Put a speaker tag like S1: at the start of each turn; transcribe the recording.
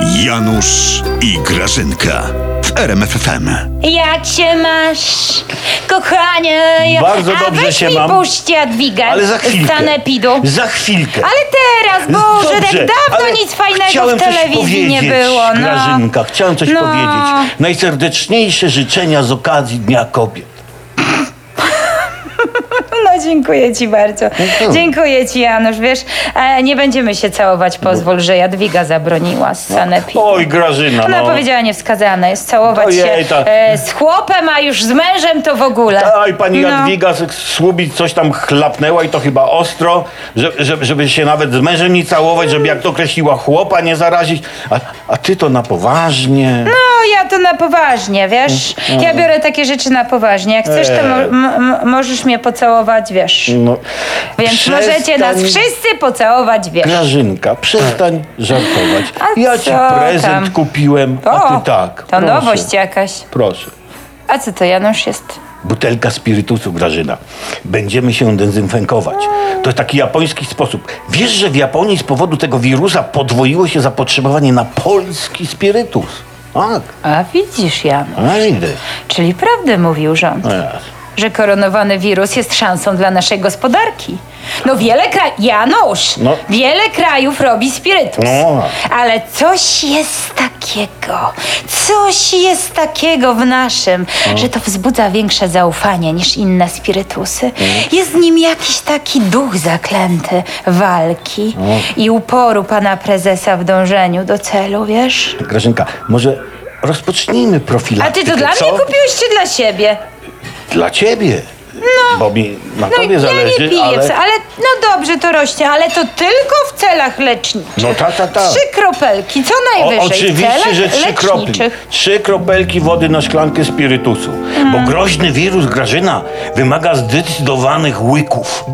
S1: Janusz i Grażynka w RMFFM.
S2: Jak się masz, kochanie? Ja-
S3: Bardzo
S2: A
S3: dobrze
S2: weź
S3: się
S2: mi
S3: mam.
S2: puść Jadwigę
S3: Ale za
S2: z
S3: chwilkę.
S2: sanepidu.
S3: Za chwilkę.
S2: Ale teraz, bo że tak
S3: Dobrze,
S2: dawno
S3: ale
S2: nic fajnego
S3: chciałem
S2: w
S3: coś
S2: telewizji nie
S3: powiedzieć,
S2: było. No.
S3: Grażynka, chciałem coś
S2: No.
S3: powiedzieć. Najserdeczniejsze życzenia z okazji Dnia Kobiet.
S2: No dziękuję ci bardzo.
S3: No
S2: Dziękuję ci Janusz, wiesz, e, nie będziemy się całować,
S3: No.
S2: pozwól, że Jadwiga zabroniła z sanepidu.
S3: Oj, Grażyna,
S2: Ona
S3: no.
S2: powiedziała niewskazane jest całować
S3: Ojej,
S2: się
S3: ta-
S2: e, z chłopem, a już z mężem to w ogóle.
S3: Oj, pani
S2: No.
S3: Jadwiga z- z Słubic coś tam chlapnęła i to chyba ostro, że, że, żeby się nawet z mężem nie całować, żeby jak to określiła chłopa nie zarazić. A, a ty to na poważnie.
S2: No, ja to na poważnie, wiesz?
S3: Mm,
S2: Ja biorę takie rzeczy na poważnie. Jak chcesz, to
S3: Eee.
S2: mo- m- m- możesz mnie pocałować, wiesz?
S3: No,
S2: Więc możecie nas
S3: przestań-
S2: wszyscy pocałować, wiesz?
S3: Grażynka, przestań żartować.
S2: Tak. A
S3: ja ci
S2: co
S3: prezent
S2: tam?
S3: kupiłem, a ty tak.
S2: to nowość jakaś.
S3: Proszę.
S2: A co to Janusz jest?
S3: Butelka spirytusu, Grażyna. Będziemy się dezynfekować. To taki japoński sposób. Wiesz, że w Japonii z powodu tego wirusa podwoiło się zapotrzebowanie na polski spirytus. Tak,
S2: A widzisz, Janusz.
S3: a idę.
S2: Czyli prawdę mówił rząd.
S3: Teraz.
S2: Że koronowany wirus jest szansą dla naszej gospodarki. No wiele krajów... Janusz!
S3: No.
S2: Wiele krajów robi spirytus.
S3: No.
S2: Ale coś jest takiego, coś jest takiego w naszym, że to wzbudza większe zaufanie niż inne spirytusy. Jest w nim jakiś taki duch zaklęty walki i uporu pana prezesa w dążeniu do celu, wiesz?
S3: Grażynka, może rozpocznijmy
S2: A
S3: profilaktykę,
S2: ty to dla
S3: co?
S2: mnie kupiłeś czy dla siebie?
S3: Dla ciebie. No. Bo mi na
S2: No
S3: tobie
S2: ja
S3: zależy,
S2: nie piję,
S3: ale...
S2: ale... ale no dobrze to rośnie, ale to tylko w celach leczniczych.
S3: No ta, ta, ta.
S2: Trzy kropelki, co
S3: O,
S2: najwyżej. w
S3: oczywiście,
S2: celach
S3: że trzy kropli.
S2: leczniczych. Mm.
S3: Trzy kropelki wody na szklankę spirytusu. Bo groźny wirus Grażyna wymaga zdecydowanych łyków.